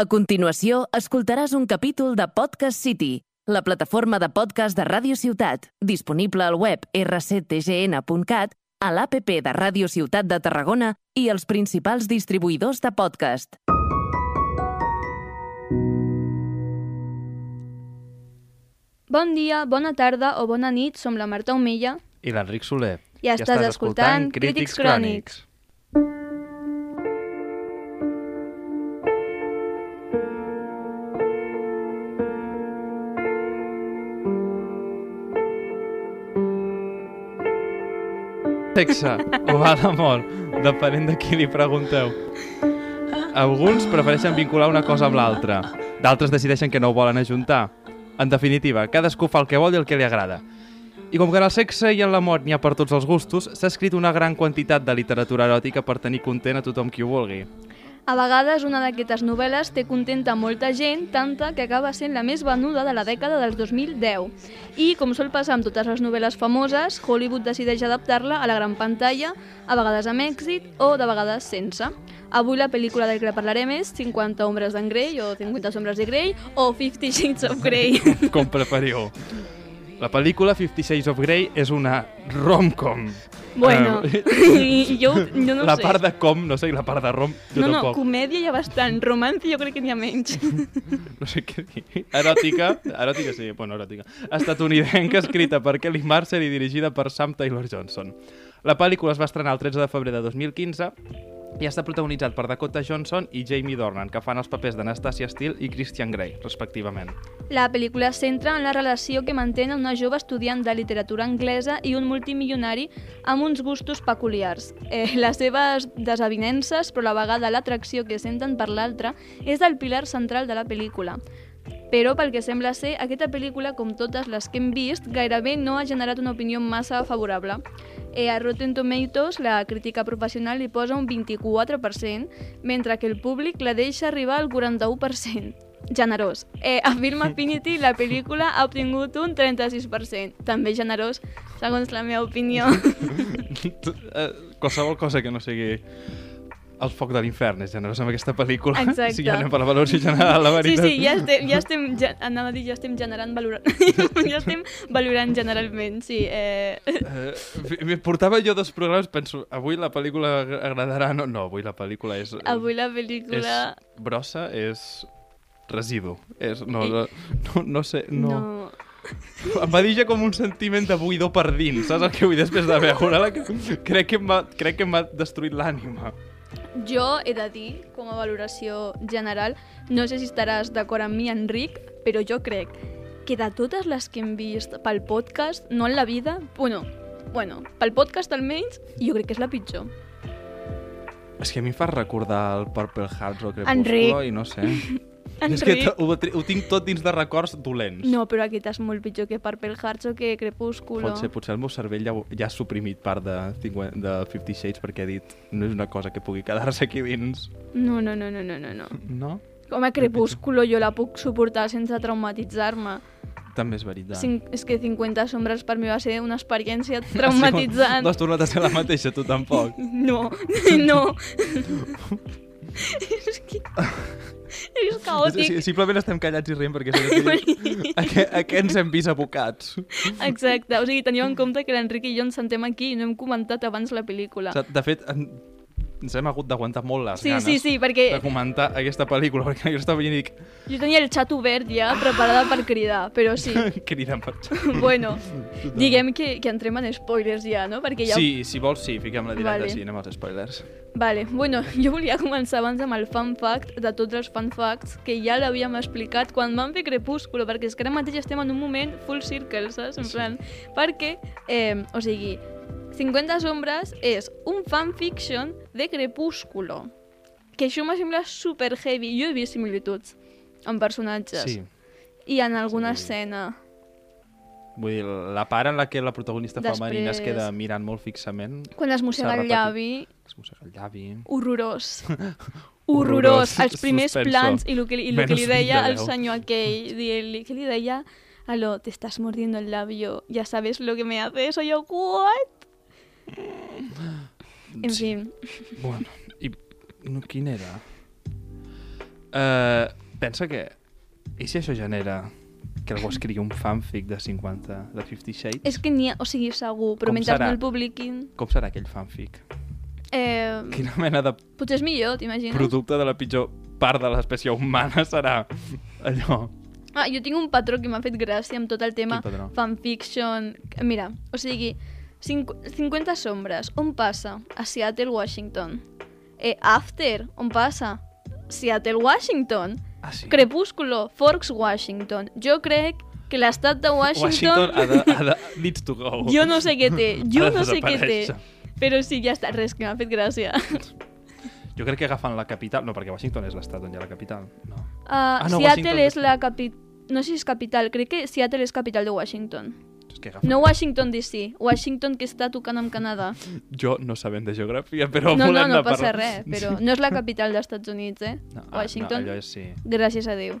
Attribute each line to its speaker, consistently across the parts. Speaker 1: A continuació, escoltaràs un capítol de Podcast City, la plataforma de podcast de Ràdio Ciutat, disponible al web rctgn.cat, a l'APP de Ràdio Ciutat de Tarragona i els principals distribuïdors de podcast.
Speaker 2: Bon dia, bona tarda o bona nit, som la Marta Omella
Speaker 3: i l'Enric Soler.
Speaker 2: i estàs, escoltant Crítics Crònics.
Speaker 3: Sexe, ho va molt, depenent de qui li pregunteu. Alguns prefereixen vincular una cosa amb l'altra, d'altres decideixen que no ho volen ajuntar. En definitiva, cadascú fa el que vol i el que li agrada. I com que en el sexe i en l'amor n'hi ha per tots els gustos, s'ha escrit una gran quantitat de literatura eròtica per tenir content a tothom qui ho vulgui.
Speaker 2: A vegades una d'aquestes novel·les té contenta molta gent, tanta que acaba sent la més venuda de la dècada dels 2010. I, com sol passar amb totes les novel·les famoses, Hollywood decideix adaptar-la a la gran pantalla, a vegades amb èxit o de vegades sense. Avui la pel·lícula del que parlarem és 50 ombres d'en Grey o 50 sombres de Grey o 50 Shades of Grey.
Speaker 3: com preferiu. La pel·lícula Fifty Shades of Grey és una rom-com.
Speaker 2: bueno,
Speaker 3: Eh,
Speaker 2: jo, jo no ho
Speaker 3: la
Speaker 2: sé.
Speaker 3: part de com, no sé, i la part de rom, jo
Speaker 2: no, no,
Speaker 3: tampoc.
Speaker 2: comèdia hi ha bastant, romance jo crec que n'hi ha menys.
Speaker 3: No sé què dir. Eròtica, eròtica sí, bueno, eròtica. Estatunidenca, escrita per Kelly Marcel i dirigida per Sam Taylor Johnson. La pel·lícula es va estrenar el 13 de febrer de 2015 i està protagonitzat per Dakota Johnson i Jamie Dornan, que fan els papers d'Anastasia Steele i Christian Grey, respectivament.
Speaker 2: La pel·lícula es centra en la relació que mantenen una jove estudiant de literatura anglesa i un multimilionari amb uns gustos peculiars. Eh, les seves desavinences, però a la vegada l'atracció que senten per l'altre, és el pilar central de la pel·lícula. Però, pel que sembla ser, aquesta pel·lícula, com totes les que hem vist, gairebé no ha generat una opinió massa favorable. Eh, a Rotten Tomatoes, la crítica professional li posa un 24%, mentre que el públic la deixa arribar al 41%. Generós. Eh, a Film Affinity la pel·lícula ha obtingut un 36%, també generós, segons la meva opinió.
Speaker 3: Eh, qualsevol cosa que no sigui el foc de l'infern és generós amb aquesta pel·lícula.
Speaker 2: Exacte.
Speaker 3: Si ja anem per la valoració general, la
Speaker 2: Sí,
Speaker 3: veritat.
Speaker 2: sí, ja estem, ja estem ja, anava a dir, ja estem generant valorant, ja estem valorant generalment, sí. Eh,
Speaker 3: Eh, me portava jo dos programes, penso, avui la pel·lícula ag- agradarà... No, no avui la pel·lícula és...
Speaker 2: avui la pel·lícula...
Speaker 3: És brossa, és residu. És, no, no, no, no sé, no. no.
Speaker 2: no.
Speaker 3: Em va dir ja com un sentiment de buidor per dins, saps el que vull dir després de veure-la? Que- Crec que em va, crec que em va destruir l'ànima.
Speaker 2: Jo he de dir, com a valoració general, no sé si estaràs d'acord amb mi, Enric, però jo crec que de totes les que hem vist pel podcast, no en la vida, bueno, bueno, pel podcast almenys, jo crec que és la pitjor.
Speaker 3: És que a mi em fa recordar el Purple Hearts o Crepúsculo
Speaker 2: Enric.
Speaker 3: i no sé. És que
Speaker 2: Enric,
Speaker 3: t- ho, tri- ho tinc tot dins de records dolents.
Speaker 2: no, però aquesta és molt pitjor que Purple Hearts o que Crepúsculo.
Speaker 3: Pot ser, potser el meu cervell ja, ho- ja ha suprimit part de, 50, de Fifty Shades perquè ha dit no és una cosa que pugui quedar-se aquí dins.
Speaker 2: No, no, no, no, no, no, no.
Speaker 3: No?
Speaker 2: Com a Crepúsculo jo la puc suportar sense traumatitzar-me.
Speaker 3: També és veritat.
Speaker 2: Cin- És que 50 sombres per mi va ser una experiència
Speaker 3: Sí, no
Speaker 2: traumatitzant.
Speaker 3: has tornat a ser la mateixa, tu tampoc.
Speaker 2: No, no. és que... És
Speaker 3: Sí,
Speaker 2: caòtic.
Speaker 3: simplement estem callats i rient perquè si no dius, a, què, a què ens hem vist abocats? O
Speaker 2: Exacte, o sigui, teniu en compte que l'Enric i jo ens sentem aquí i no hem comentat abans la pel·lícula.
Speaker 3: sigui, de fet, en, ens hem hagut d'aguantar molt les
Speaker 2: Sí,
Speaker 3: ganes
Speaker 2: sí, sí, perquè
Speaker 3: de comentar aquesta pel·lícula, perquè jo estava veient i dic,
Speaker 2: jo tenia el xat obert ja, preparada per cridar, però sí.
Speaker 3: crida, marxa.
Speaker 2: Bueno, diguem que, que entrem en spoilers ja, no? Perquè ja...
Speaker 3: Sí, si vols, sí, fiquem la directa,
Speaker 2: Vale.
Speaker 3: vale. sí, anem als spoilers.
Speaker 2: Vale, bueno, jo volia començar abans amb el fun fact de tots els fun facts que ja l'havíem explicat quan vam fer Crepúsculo, perquè és que ara mateix estem en un moment full circle, saps? En
Speaker 3: Sí.
Speaker 2: plan, perquè, eh, o sigui, 50 sombres és un fanfiction de Crepúsculo, que això m'ha semblat super heavy. Jo he vist similituds en personatges
Speaker 3: Sí,
Speaker 2: i en alguna
Speaker 3: Sí.
Speaker 2: escena.
Speaker 3: vull dir, la part en la que la protagonista
Speaker 2: Després-
Speaker 3: femenina es queda mirant molt fixament,
Speaker 2: Quan es mossega el
Speaker 3: repetit.
Speaker 2: llavi,
Speaker 3: es mossega el llavi...
Speaker 2: horrorós.
Speaker 3: Horrorós.
Speaker 2: horrorós. Els primers
Speaker 3: Suspenso.
Speaker 2: plans i el que, i lo que
Speaker 3: Menos
Speaker 2: li
Speaker 3: un
Speaker 2: deia
Speaker 3: de
Speaker 2: al
Speaker 3: deu.
Speaker 2: senyor aquell, dient-li, que li deia? Aló, te estás mordiendo el labio, ya sabes lo que me hace eso, yo, what? En
Speaker 3: Sí.
Speaker 2: fin,
Speaker 3: Bueno, i no, quin era? Eh, pensa que... I si això genera que algú escrigui un fanfic de 50, de 50 Shades?
Speaker 2: És que n'hi ha, o sigui, segur, però
Speaker 3: Com
Speaker 2: mentre
Speaker 3: serà?
Speaker 2: no el publiquin...
Speaker 3: Com serà aquell fanfic?
Speaker 2: Eh,
Speaker 3: Quina mena de
Speaker 2: potser és millor, t'imagines?
Speaker 3: producte de la pitjor part de l'espècie humana serà allò?
Speaker 2: Ah, jo tinc un patró que m'ha fet gràcia amb tot el tema
Speaker 3: Quin patró?
Speaker 2: fanfiction. Mira, o sigui, cinc- 50 sombres, on passa? A Seattle, Washington. Eh, After, on passa? Seattle, Washington.
Speaker 3: Ah, sí?
Speaker 2: Crepúsculo, Forks, Washington. Jo crec que l'estat de Washington...
Speaker 3: Washington ha de, ha de... needs to go.
Speaker 2: Jo no sé què té, jo
Speaker 3: Ha de
Speaker 2: no sé què té.
Speaker 3: desaparèixer.
Speaker 2: Però sí, ja està, res, que m'ha fet gràcia.
Speaker 3: Jo crec que agafen la capital... No, perquè Washington és l'estat on hi ha la capital. No.
Speaker 2: Uh,
Speaker 3: Ah, no, Washington
Speaker 2: Seattle és
Speaker 3: DC.
Speaker 2: la capital... No sé si és capital, crec que Seattle és capital de Washington.
Speaker 3: És que agafen...
Speaker 2: No Washington DC, Washington que està tocant amb Canadà.
Speaker 3: Jo no sabem de geografia, però
Speaker 2: No, no,
Speaker 3: volem
Speaker 2: no
Speaker 3: de
Speaker 2: passa
Speaker 3: parlar.
Speaker 2: res, però no és la capital dels Estats Units, eh?
Speaker 3: No, ah,
Speaker 2: Washington,
Speaker 3: No, allò és sí.
Speaker 2: gràcies a Déu.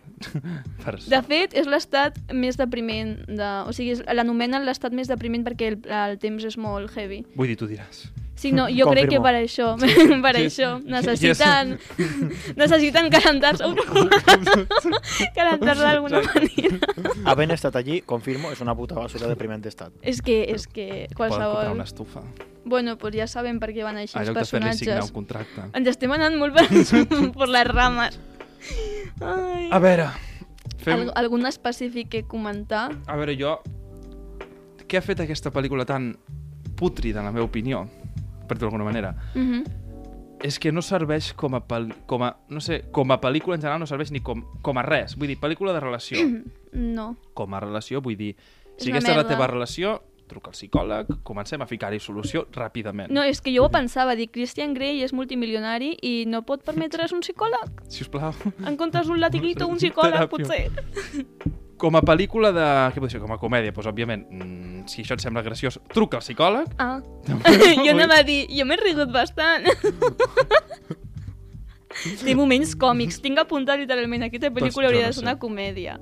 Speaker 3: Per...
Speaker 2: De fet, és l'estat més depriment, de... o sigui, és- l'anomenen l'estat més depriment perquè el, el temps és molt heavy.
Speaker 3: Vull dir, tu diràs.
Speaker 2: Sí, no, jo crec que
Speaker 4: Confirmo.
Speaker 2: per això, per
Speaker 3: Sí.
Speaker 2: això, necessiten, necessiten calentar-se calentar-se d'alguna manera.
Speaker 4: Havent estat allí, confirmo, és una puta basura depriment estat.
Speaker 2: És que, és que
Speaker 3: Poden comprar
Speaker 2: qualsevol...
Speaker 3: una estufa.
Speaker 2: Bueno, pues ja saben per què van així
Speaker 3: A
Speaker 2: els
Speaker 3: lloc de fer-li signar
Speaker 2: personatges.
Speaker 3: un contracte.
Speaker 2: Ens estem anant molt per, per les rames. Ai.
Speaker 3: A veure, fem...
Speaker 2: Al algun específic que comentar?
Speaker 3: A veure, jo... Què ha fet aquesta pel·lícula tan pútrida, en la meva opinió? Per dir-ho d'alguna manera.
Speaker 2: Mhm.
Speaker 3: és que no serveix com a, pel... com a, no sé, com a pel·lícula en general, no serveix ni com, com a res. Vull dir, pel·lícula de relació.
Speaker 2: No.
Speaker 3: com a relació, vull dir,
Speaker 2: És
Speaker 3: si
Speaker 2: una
Speaker 3: aquesta és la
Speaker 2: merda.
Speaker 3: teva relació, truca al psicòleg, comencem a ficar-hi solució ràpidament.
Speaker 2: No, és que jo ho pensava, dic, Christian Grey és multimilionari i no pot permetre's un psicòleg.
Speaker 3: Si us plau.
Speaker 2: En comptes d'un latiguito, un psicòleg,
Speaker 3: Teràpia.
Speaker 2: potser.
Speaker 3: Com a pel·lícula de... Què podria ser? Com a comèdia, doncs, òbviament, mm, si això et sembla graciós, truca al psicòleg.
Speaker 2: Ah,
Speaker 3: Vull-
Speaker 2: jo anava a dir, jo m'he rigut bastant. Té moments còmics, tinc apuntat literalment, aquesta pel·lícula
Speaker 3: jo
Speaker 2: hauria
Speaker 3: no
Speaker 2: de ser una
Speaker 3: sé.
Speaker 2: comèdia.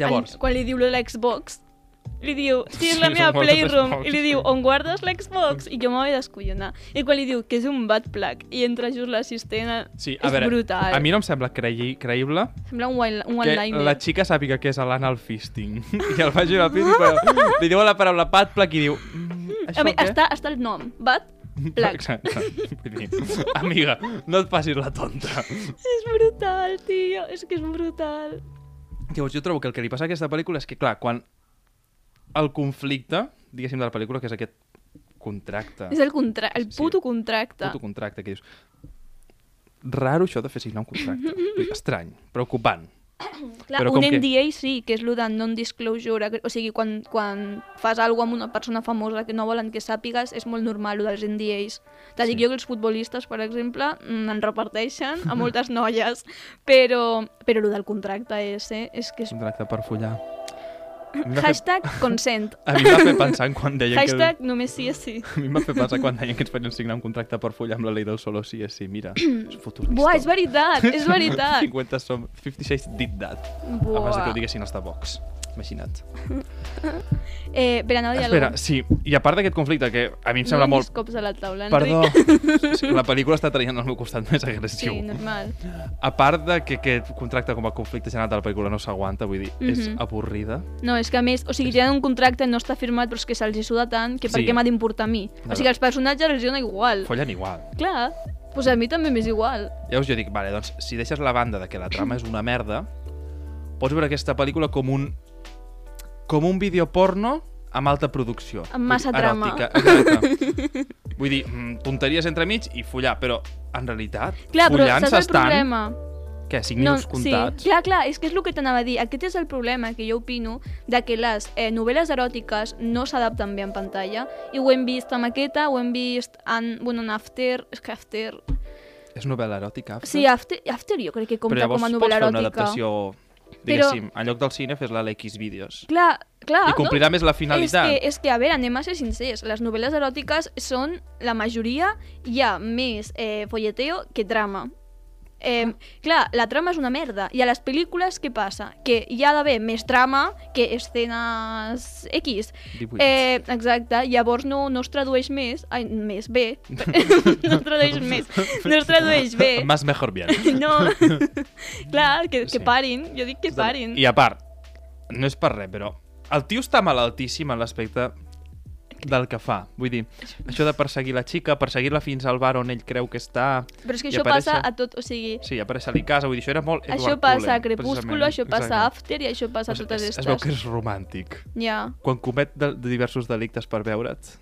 Speaker 3: Llavors,
Speaker 2: Ai, quan li diu lo de l'Xbox, li diu, sí, és
Speaker 3: Sí,
Speaker 2: la
Speaker 3: és
Speaker 2: meva
Speaker 3: on guardes
Speaker 2: Playroom,
Speaker 3: l'Xbox.
Speaker 2: i li diu, on guardes l'Xbox? I jo m'havia d'escollonar. I quan li diu que és un bad plug, i entra just l'assistent, a-
Speaker 3: sí, a
Speaker 2: és
Speaker 3: veure,
Speaker 2: brutal.
Speaker 3: a mi no em sembla creï, creïble
Speaker 2: Sembla un, one, un
Speaker 3: que
Speaker 2: one-liner.
Speaker 3: la xica sàpiga que és l'anal fisting. I el vagi al pis, però li diu la paraula patplac i diu... Mm, això
Speaker 2: A mi,
Speaker 3: què?
Speaker 2: està, està el nom, bad plug.
Speaker 3: Exacte. Vull dir, amiga, no et facis la tonta.
Speaker 2: és brutal, tio, és que és brutal.
Speaker 3: Llavors, jo trobo que el que li passa a aquesta pel·lícula és que, clar, quan el conflicte, diguéssim, de la pel·lícula, que és aquest contracte,
Speaker 2: És el, contra el
Speaker 3: Sí.
Speaker 2: puto contracte.
Speaker 3: puto contracte, que dius... Raro això de fer signar un contracte. Vull dir, Estrany, preocupant.
Speaker 2: Clar,
Speaker 3: Però
Speaker 2: un
Speaker 3: com que-
Speaker 2: NDA sí, que és el de non-disclosure, que- o sigui, quan, quan fas alguna amb una persona famosa que no volen que sàpigues, és molt normal, el dels NDAs. T'ha sí.
Speaker 3: Sí.
Speaker 2: dic jo que els futbolistes, per exemple, mm, en reparteixen a moltes noies, però, però el del contracte és, eh? és que és...
Speaker 3: Contracte per follar. A mi em va fer-
Speaker 2: Hashtag consent.
Speaker 3: A mi em va fer pensar en quan deien que...
Speaker 2: Hashtag només sí és sí.
Speaker 3: A mi em va fer pensar quan deien que ens farien signar un contracte per follar amb la llei del solo sí és sí. Mira, és futurista.
Speaker 2: Buah, és veritat, és veritat.
Speaker 3: 50 som... 50 Shades did that. Buah. Abans de que ho
Speaker 2: Buah.
Speaker 3: diguessin els de Vox. Imagina't.
Speaker 2: Eh, però anava a dir
Speaker 3: Espera,
Speaker 2: alguna
Speaker 3: sí, i a part d'aquest conflicte, que a mi em sembla
Speaker 2: no donis
Speaker 3: molt...
Speaker 2: cops a la taula, Enric.
Speaker 3: Perdó, sí, la pel·lícula està traient al meu costat més agressiu.
Speaker 2: Sí, normal.
Speaker 3: A part de que aquest contracte com a conflicte general de la pel·lícula no s'aguanta, vull dir, és
Speaker 2: Mhm.
Speaker 3: avorrida.
Speaker 2: No, és que a més, o sigui, tenen un contracte, no està firmat, però és que se'ls hi suda tant que per
Speaker 3: Sí.
Speaker 2: què m'ha d'importar a mi? O
Speaker 3: Ara.
Speaker 2: sigui, els personatges els dona igual.
Speaker 3: Follen igual.
Speaker 2: Clar, doncs a mi també m'és igual.
Speaker 3: Llavors jo dic, vale, doncs, si deixes la banda de que la trama és una merda, pots veure aquesta pel·lícula com un... com un vídeo porno amb alta producció.
Speaker 2: Amb massa
Speaker 3: Vull dir,
Speaker 2: trama.
Speaker 3: eròtica, Exacte. vull dir, mm, tonteries entre mig i follar, però en realitat,
Speaker 2: Clar, però
Speaker 3: follant
Speaker 2: saps el
Speaker 3: s'estan...
Speaker 2: problema?
Speaker 3: Què, 5 minuts comptats?
Speaker 2: Sí, clar, clar, és que és el que t'anava a dir. Aquest és el problema que jo opino de que les eh, novel·les eròtiques no s'adapten bé en pantalla. I ho hem vist amb aquesta, ho hem vist en, bueno, en After... És que After...
Speaker 3: És novel·la eròtica? After?
Speaker 2: Sí, After, after jo crec que
Speaker 3: Però
Speaker 2: compta
Speaker 3: llavors
Speaker 2: com a novel·la
Speaker 3: pots fer una
Speaker 2: eròtica.
Speaker 3: adaptació, diguéssim, en lloc del cine fes la l'X vídeos.
Speaker 2: Clar, clar,
Speaker 3: I
Speaker 2: no?
Speaker 3: complirà més la
Speaker 2: És
Speaker 3: finalitat.
Speaker 2: que, és que, a veure, anem a ser sincers, les novel·les eròtiques són, la majoria, hi ha més eh, folleteo que trama. Eh, clar, la trama és una merda. I a les pel·lícules què passa? Que hi ha d'haver més trama que escenes X.
Speaker 3: 18.
Speaker 2: Eh, exacte, llavors no, no es tradueix més, ai, més bé, no es tradueix més, no es tradueix bé.
Speaker 3: Más mejor bien.
Speaker 2: No, clar, que, que
Speaker 3: Sí.
Speaker 2: parin, jo dic que parin.
Speaker 3: I a part, no és per res, però el tio està malaltíssim en l'aspecte del que fa. Vull dir, això de perseguir la xica, perseguir-la fins al bar on ell creu que està...
Speaker 2: Però és que
Speaker 3: i
Speaker 2: això
Speaker 3: aparèixer-
Speaker 2: passa a tot, o sigui,
Speaker 3: Sí, aparèixer-li casa, vull dir, això era molt Edward
Speaker 2: això passa a
Speaker 3: Cullen,
Speaker 2: Crepúsculo,
Speaker 3: precisament.
Speaker 2: això passa a
Speaker 3: Exacte.
Speaker 2: After i això passa a
Speaker 3: Es-
Speaker 2: totes aquestes.
Speaker 3: es, es veu que és romàntic.
Speaker 2: Ja.
Speaker 3: Quan comet de, de diversos delictes per veure't,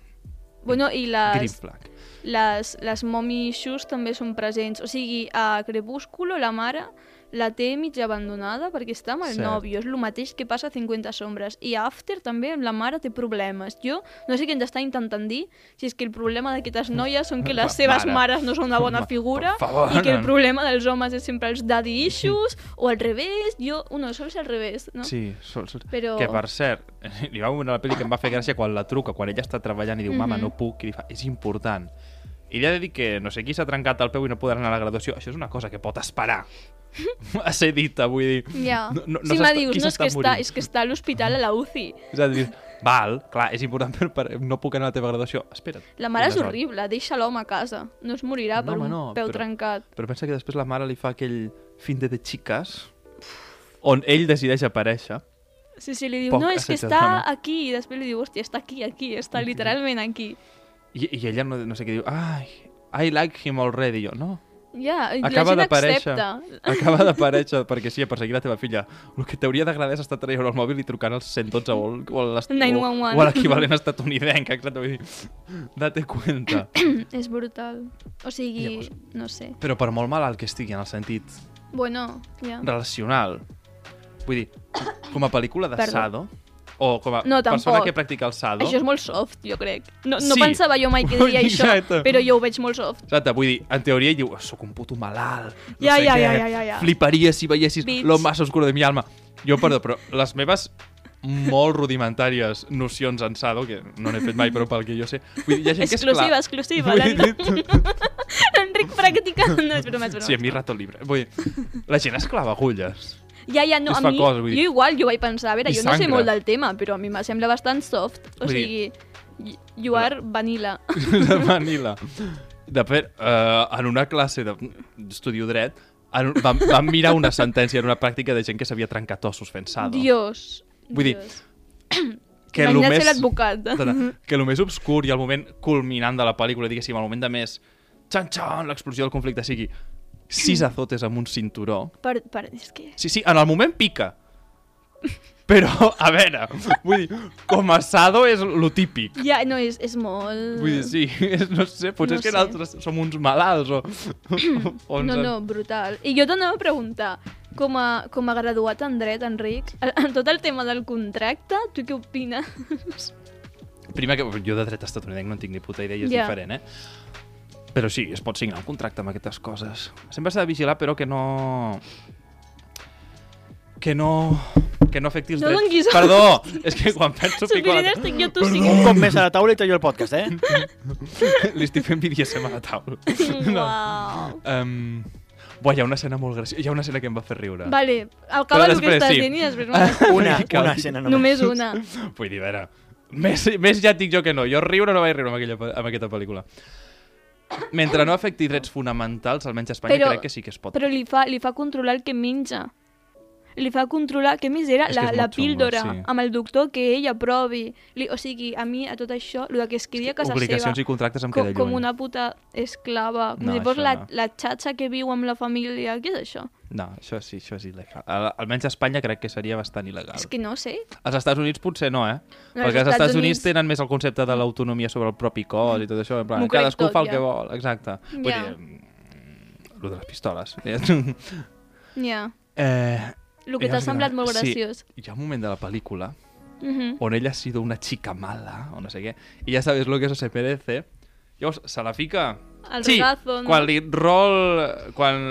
Speaker 2: Bueno, i
Speaker 3: green
Speaker 2: les,
Speaker 3: flag.
Speaker 2: les, les mommy issues també són presents. O sigui, a Crepúsculo la mare la té mig abandonada perquè està amb el
Speaker 3: Cert.
Speaker 2: nòvio. És el mateix que passa a 50 sombres. I a After també la mare té problemes. Jo no sé què ens està intentant dir, si és que el problema d'aquestes noies són que
Speaker 3: Ma-
Speaker 2: les seves
Speaker 3: mare.
Speaker 2: mares no són una bona
Speaker 3: Ma-
Speaker 2: figura
Speaker 3: per favor,
Speaker 2: i que el
Speaker 3: no.
Speaker 2: problema dels homes és sempre els daddy issues o al revés. Jo, no, sols al revés, no?
Speaker 3: Sí, sol, sol.
Speaker 2: Però-
Speaker 3: Que, per cert, hi va una pel·li que em va fer gràcia quan la truca, quan ella està treballant i diu, mama,
Speaker 2: Mhm.
Speaker 3: no puc, i li fa, és important. I li ha de dir que no sé qui s'ha trencat el peu i no podrà anar a la graduació. Això és una cosa que pot esperar a ser dita, vull dir.
Speaker 2: Ja.
Speaker 3: No- no- no
Speaker 2: si me
Speaker 3: s'està-
Speaker 2: dius,
Speaker 3: qui
Speaker 2: no, és
Speaker 3: s'està
Speaker 2: que, està,
Speaker 3: morint?"
Speaker 2: és que està a l'hospital a la UCI.
Speaker 3: És a dir, val, clar, és important, però per, no puc anar a la teva graduació. Espera't.
Speaker 2: La mare és
Speaker 3: unes hores.
Speaker 2: horrible, deixa l'home a casa. No es morirà
Speaker 3: No,
Speaker 2: per
Speaker 3: home,
Speaker 2: un
Speaker 3: no,
Speaker 2: peu
Speaker 3: però-
Speaker 2: trencat.
Speaker 3: Però pensa que després la mare li fa aquell fin de de xiques on ell decideix aparèixer.
Speaker 2: Sí, sí, li diu,
Speaker 3: Poc
Speaker 2: no, és que
Speaker 3: assetjadora.
Speaker 2: està aquí. I després li diu, hòstia, està aquí, aquí, està literalment aquí.
Speaker 3: I, i ella no, no sé què diu, ai, I like him already. I Jo, no,
Speaker 2: Ja, i
Speaker 3: Acaba
Speaker 2: la gent
Speaker 3: d'aparèixer.
Speaker 2: accepta.
Speaker 3: Acaba d'aparèixer, perquè sí, a perseguir la teva filla. El que t'hauria d'agradar és estar traient el mòbil i trucant al 112 o, al- o, a l'est-
Speaker 2: 911.
Speaker 3: o, o a l'equivalent estatunidenc, exacte. Vull dir, date cuenta.
Speaker 2: és brutal. O sigui,
Speaker 3: Llavors-
Speaker 2: no sé.
Speaker 3: Però per molt malalt que estigui en el sentit
Speaker 2: Bueno, ja.
Speaker 3: relacional, vull dir, com a pel·lícula de
Speaker 2: Perdó.
Speaker 3: sado, o com a
Speaker 2: No,
Speaker 3: persona
Speaker 2: tampoc.
Speaker 3: que practica el sado...
Speaker 2: Això és molt soft, jo crec. No, no
Speaker 3: Sí.
Speaker 2: pensava jo mai que diria això,
Speaker 3: Exacte.
Speaker 2: però jo ho veig molt soft.
Speaker 3: Exacte, vull dir, en teoria ell diu, soc un puto malalt, no
Speaker 2: Ja,
Speaker 3: sé
Speaker 2: ja,
Speaker 3: què,
Speaker 2: ja, ja, ja, ja.
Speaker 3: fliparia si veiessis
Speaker 2: Bitch.
Speaker 3: lo más oscuro de mi alma. Jo, perdó, però les meves molt rudimentàries nocions en Sado, que no n'he fet mai, però pel que jo sé, vull dir, hi ha gent
Speaker 2: exclusiva,
Speaker 3: que és
Speaker 2: exclusiva.
Speaker 3: clar...
Speaker 2: l'Enric-
Speaker 3: Vull dir,
Speaker 2: L'Enric practicant. No, és broma, és broma.
Speaker 3: Sí, a mi rato libre. Vull dir, la gent es clava agulles.
Speaker 2: Ja, ja, no,
Speaker 3: Es
Speaker 2: a
Speaker 3: fa
Speaker 2: mi,
Speaker 3: cosa, vull dir.
Speaker 2: jo igual, jo vaig pensar, a veure,
Speaker 3: I
Speaker 2: jo no sé
Speaker 3: sangra.
Speaker 2: molt del tema, però a mi me sembla bastant soft, o
Speaker 3: Vull
Speaker 2: sigui,
Speaker 3: dir-
Speaker 2: y- you are vanilla.
Speaker 3: de Manila. De fet, eh, en una classe d'estudio de, dret, en, vam, vam mirar una sentència en una pràctica de gent que s'havia trencat ossos fent Sado.
Speaker 2: Dios.
Speaker 3: Vull dir,
Speaker 2: Dios.
Speaker 3: que el
Speaker 2: Imagina't
Speaker 3: més...
Speaker 2: ser l'advocat.
Speaker 3: Perdona, que el més obscur i el moment culminant de la pel·lícula, diguéssim, el moment de més... Xan, xan, l'explosió del conflicte sigui sis azotes amb un cinturó.
Speaker 2: Per, per, és que...
Speaker 3: Sí, sí, en el moment pica. Però, a veure, vull dir, com a Sado és lo típic.
Speaker 2: Ja, no, és, és molt...
Speaker 3: Vull dir, sí, és, no sé, potser
Speaker 2: No
Speaker 3: no és que
Speaker 2: sé.
Speaker 3: nosaltres som uns malalts o... o ens
Speaker 2: No,
Speaker 3: en-
Speaker 2: no, brutal. I jo t'anava a preguntar, com a, com a graduat en dret, Enric, en- en tot el tema del contracte, tu què opines?
Speaker 3: Primer que jo de dret estatunidenc no en tinc ni puta idea i és
Speaker 2: Ja.
Speaker 3: diferent, eh? Però sí, es pot signar un contracte amb aquestes coses. Sempre s'ha de vigilar, però que no... Que no... Que no afecti els
Speaker 2: No
Speaker 3: drets...
Speaker 2: donis-
Speaker 3: Perdó! És que quan penso pico...
Speaker 2: Superior,
Speaker 3: La...
Speaker 2: estic jo, tu sí.
Speaker 4: Un cop més a la taula i tallo el podcast, eh?
Speaker 3: Li estic fent BDSM a la taula.
Speaker 2: Uau.
Speaker 3: Um... Buah, hi ha una escena molt graciosa. Hi ha una escena que em va fer riure.
Speaker 2: Vale, acaba el que
Speaker 3: després
Speaker 2: estàs
Speaker 3: sí.
Speaker 2: dient i després... m'ho-
Speaker 4: Una,
Speaker 3: Cal-
Speaker 4: una escena només.
Speaker 2: Només una.
Speaker 3: Vull dir, a veure, més, més ja et dic jo que no. Jo riure no vaig riure amb, aquella, pe- amb aquesta pel·lícula. Mentre no afecti drets fonamentals, almenys a Espanya,
Speaker 2: Però-
Speaker 3: crec que sí que es pot.
Speaker 2: Però li fa, li fa controlar el que menja. Li fa controlar, que més era,
Speaker 3: És que
Speaker 2: la,
Speaker 3: és
Speaker 2: la
Speaker 3: molt xungo,
Speaker 2: píldora
Speaker 3: sí.
Speaker 2: amb el doctor que ell aprovi. Li, o sigui, a mi, a tot això, el que es quedia a casa
Speaker 3: Obligacions i
Speaker 2: seva,
Speaker 3: contractes em
Speaker 2: com,
Speaker 3: queda lluny.
Speaker 2: com una puta esclava. Com
Speaker 3: No,
Speaker 2: si fos
Speaker 3: això
Speaker 2: la,
Speaker 3: no.
Speaker 2: la xatxa que viu amb la família. Què és això?
Speaker 3: No, això sí, això és il·legal. Al- Almenys a Espanya crec que seria bastant il·legal.
Speaker 2: És que no sé.
Speaker 3: Als Estats Units potser no, eh?
Speaker 2: No, als
Speaker 3: Perquè als
Speaker 2: Estats
Speaker 3: Estats Units
Speaker 2: Units-
Speaker 3: tenen més el concepte de l'autonomia sobre el propi cos i tot això. En plan,
Speaker 2: M'ho crec
Speaker 3: cadascú
Speaker 2: tot,
Speaker 3: fa el
Speaker 2: ja.
Speaker 3: que vol, exacte. Vull
Speaker 2: Ja.
Speaker 3: dir, mm, lo de les pistoles. eh,
Speaker 2: Ja. Yeah. El que
Speaker 3: ja
Speaker 2: t'ha
Speaker 3: us
Speaker 2: semblat
Speaker 3: dirà-
Speaker 2: molt
Speaker 3: sí.
Speaker 2: graciós.
Speaker 3: hi ha un moment de la pel·lícula
Speaker 2: Mhm.
Speaker 3: on ella ha sido una chica mala, o no sé qué, y ya sabes lo que eso se merece. Llavors, se la fica...
Speaker 2: Al
Speaker 3: sí,
Speaker 2: regazo, no?
Speaker 3: quan li rol... Quan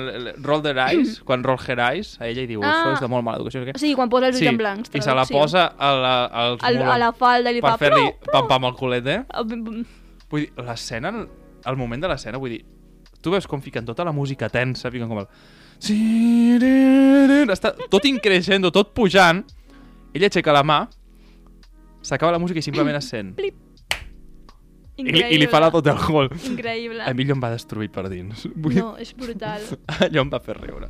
Speaker 3: rol the eyes, quan rol her eyes, a ella i diu,
Speaker 2: Ah.
Speaker 3: això és de molt mala educació. no sé què".
Speaker 2: O sigui, quan posa els ulls
Speaker 3: sí,
Speaker 2: en blancs.
Speaker 3: I se la
Speaker 2: traducció.
Speaker 3: posa a la, als
Speaker 2: Al, a la
Speaker 3: mulons
Speaker 2: falda i li
Speaker 3: per
Speaker 2: fa...
Speaker 3: fer-li
Speaker 2: "Prou, prou".
Speaker 3: pam-pam al culet, eh?
Speaker 2: Ah, bum, bum.
Speaker 3: Vull dir, l'escena, el moment de l'escena, vull dir, tu veus com fiquen tota la música tensa, fiquen com el... Siriririn. Està tot increixent, tot pujant. Ell aixeca la mà, s'acaba la música i simplement es sent. I, li- I li farà tot el gol.
Speaker 2: Increïble.
Speaker 3: A mi allò em va destruir per dins. Vull...
Speaker 2: No, és brutal.
Speaker 3: Allò em va fer riure.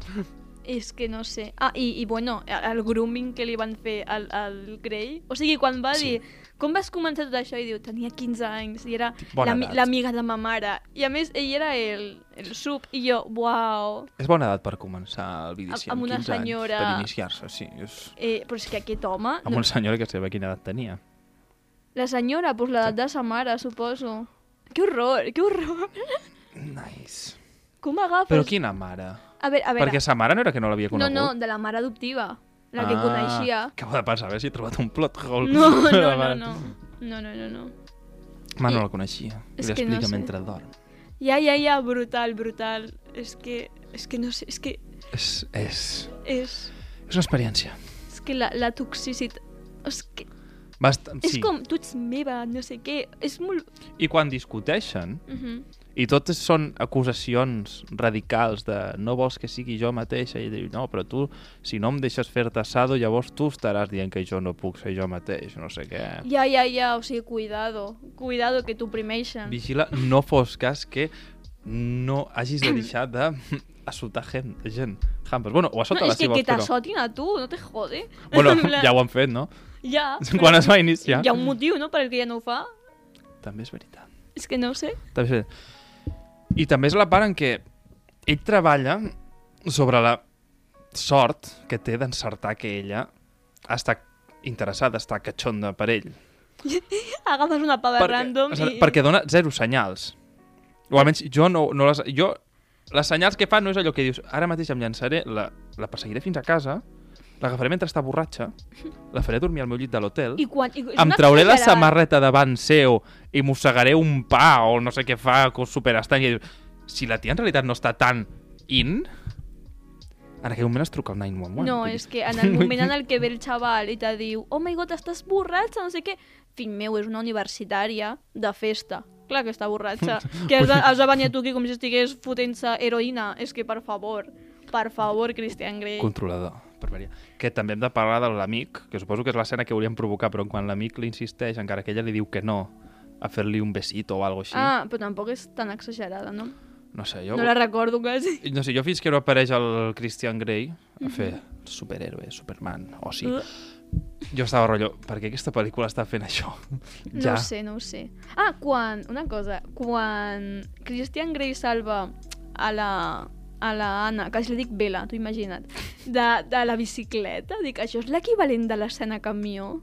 Speaker 2: És que no sé. Ah, i, i bueno, el grooming que li van fer al, al Grey. O sigui, quan va sí.
Speaker 3: Sí.
Speaker 2: dir... Com vas començar tot això? I diu, tenia 15 anys i era
Speaker 3: Bona
Speaker 2: l'ami-
Speaker 3: edat.
Speaker 2: l'amiga de ma mare. I a més, ell era el, el sub. I jo, uau...
Speaker 3: És bona edat per començar el vídeo. Sí,
Speaker 2: Amb
Speaker 3: amb,
Speaker 2: una
Speaker 3: 15 anys,
Speaker 2: senyora-
Speaker 3: Per iniciar-se, sí. És...
Speaker 2: Eh, però és que aquest home...
Speaker 3: Amb una senyora que sabia quina edat tenia.
Speaker 2: La senyora, doncs l'edat de sa mare, suposo. Que horror, que horror.
Speaker 3: Nice.
Speaker 2: Com agafes?
Speaker 3: Però quina mare?
Speaker 2: A veure, a veure.
Speaker 3: Perquè sa mare no era que no l'havia
Speaker 2: No,
Speaker 3: conegut?
Speaker 2: no, de la mare adoptiva. La que coneixia.
Speaker 3: Acabo Ah, de pensar, a veure si he trobat un plot hole.
Speaker 2: No, no,
Speaker 3: de la
Speaker 2: no,
Speaker 3: mare.
Speaker 2: no. No, no, no, no.
Speaker 3: Ma no la coneixia. I
Speaker 2: És que
Speaker 3: l'explica
Speaker 2: no sé.
Speaker 3: mentre dorm.
Speaker 2: Ja, ja, ja, brutal, brutal. És que, és que no sé, és que
Speaker 3: És, és,
Speaker 2: és,
Speaker 3: és una experiència.
Speaker 2: és que la, la toxicitat... És que
Speaker 3: Bast
Speaker 2: és
Speaker 3: sí.
Speaker 2: com, tu ets meva, no sé què, és molt...
Speaker 3: I quan discuteixen,
Speaker 2: Uh -huh.
Speaker 3: i totes són acusacions radicals de no vols que sigui jo mateixa, i diu, no, però tu, si no em deixes fer-te assado, llavors tu estaràs dient que jo no puc ser jo mateix, no sé què.
Speaker 2: Ja, ja, ja, o sigui, cuidado, cuidado que t'oprimeixen.
Speaker 3: Vigila, no fos cas que no hagis de deixar de assotar gent, gent. Hampers. Bueno, o assota
Speaker 2: no,
Speaker 3: la
Speaker 2: és que,
Speaker 3: si
Speaker 2: que
Speaker 3: vols, però...
Speaker 2: t'assotin a tu, no te jode.
Speaker 3: Bueno,
Speaker 2: En plan,
Speaker 3: ja ho han fet, no?
Speaker 2: ja,
Speaker 3: Quan
Speaker 2: però
Speaker 3: es va iniciar.
Speaker 2: Hi ha un motiu, no?, per el que ja no ho fa.
Speaker 3: També és veritat.
Speaker 2: És que no ho sé.
Speaker 3: També és veritat. I també és la part en què ell treballa sobre la sort que té d'encertar que ella està interessada, està catxonda per ell.
Speaker 2: Agafes una pava random
Speaker 3: o sigui,
Speaker 2: i...
Speaker 3: perquè dona zero senyals. O almenys jo no, no les... Jo, les senyals que fa no és allò que dius ara mateix em llançaré, la, la perseguiré fins a casa, l'agafaré mentre està borratxa, la faré dormir al meu llit de l'hotel...
Speaker 2: I quan... I, és
Speaker 3: Em
Speaker 2: una
Speaker 3: trauré la
Speaker 2: exagerat.
Speaker 3: samarreta davant seu i mossegaré un pa o no sé què fa, que superestrany. I dius, si la tia en realitat no està tan in, en aquell moment es truca al
Speaker 2: No,
Speaker 3: 911. Vull dir,
Speaker 2: és que en el moment en el que ve el xaval i te diu oh my god, estàs borratxa, no sé què, fill meu, és una universitària de festa. Clar que està borratxa. que has de, has de venir tu aquí com si estigués fotent-se heroïna. És que, per favor, per favor, Christian Grey.
Speaker 3: Controlador, per variar. Que també hem de parlar de l'amic, que suposo que és l'escena que volíem provocar, però quan l'amic li insisteix, encara que ella li diu que no, a fer-li un besito o alguna així.
Speaker 2: Ah, però tampoc és tan exagerada, no?
Speaker 3: No sé, jo...
Speaker 2: No la recordo quasi.
Speaker 3: no sé, jo fins que no apareix el Christian Grey
Speaker 2: Mhm.
Speaker 3: a fer superhéroe, Superman, o sí.
Speaker 2: Uh.
Speaker 3: Jo estava rotllo, per què aquesta pel·lícula està fent això?
Speaker 2: No ho sé, no ho sé. Ah, quan... Una cosa. Quan Christian Grey salva a la a la Anna, que li dic Vela, t'ho imagina't, de, de la bicicleta, dic, això és l'equivalent de l'escena camió.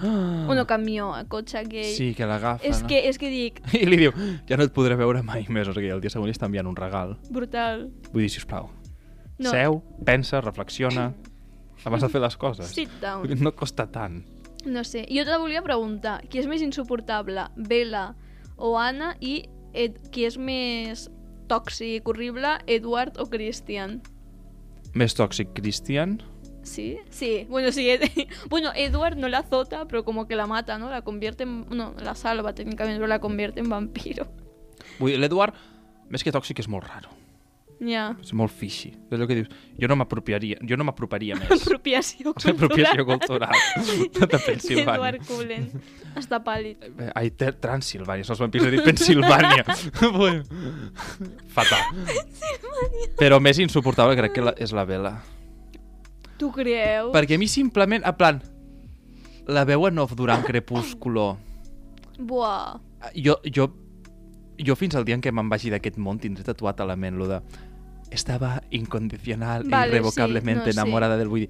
Speaker 3: Ah,
Speaker 2: O no camió, a cotxe gay.
Speaker 3: Sí, que l'agafa,
Speaker 2: és,
Speaker 3: no?
Speaker 2: que, és que dic,
Speaker 3: I li diu, ja no et podré veure mai més, o sigui, el dia següent li està enviant un regal.
Speaker 2: brutal.
Speaker 3: Vull dir, sisplau, no.
Speaker 2: No.
Speaker 3: seu, pensa, reflexiona, abans de fer les coses.
Speaker 2: Sit
Speaker 3: Vull
Speaker 2: down.
Speaker 3: dir, No et costa tant.
Speaker 2: No sé. Jo te la volia preguntar, qui és més insuportable, Vela o Anna, i Ed, qui és més tòxic, horrible, Edward o Christian?
Speaker 3: Més tòxic, Christian.
Speaker 2: Sí, sí. Bueno, sí. Ed- Bueno, Edward no la azota, pero como que la mata, ¿no? La convierte en... No, la salva técnicamente, pero la convierte en vampiro.
Speaker 3: Vull dir, l'Eduard, més que tòxic, és molt raro.
Speaker 2: Ya.
Speaker 3: És molt fishy. És allò que dius, jo no m'apropiaria, jo no m'aproparia més.
Speaker 2: Apropiació cultural.
Speaker 3: Apropiació cultural de Pensilvània.
Speaker 2: Edward Cullen. Està pàl·lid.
Speaker 3: Eh, Ai, Ter- Transilvània, se'ls vampirs de dir Pensilvània. Bueno, Fatal. Però més insuportable crec que la, és la vela.
Speaker 2: Tu creus?
Speaker 3: Perquè a mi simplement, a plan, la veuen off durant Crepúsculo.
Speaker 2: Buah.
Speaker 3: Jo, jo, jo fins al dia en què me'n vagi d'aquest món tindré tatuat a la ment lo de estava incondicional
Speaker 2: Vale,
Speaker 3: e
Speaker 2: sí,
Speaker 3: irrevocablemente
Speaker 2: no, sí.
Speaker 3: enamorada del Woody.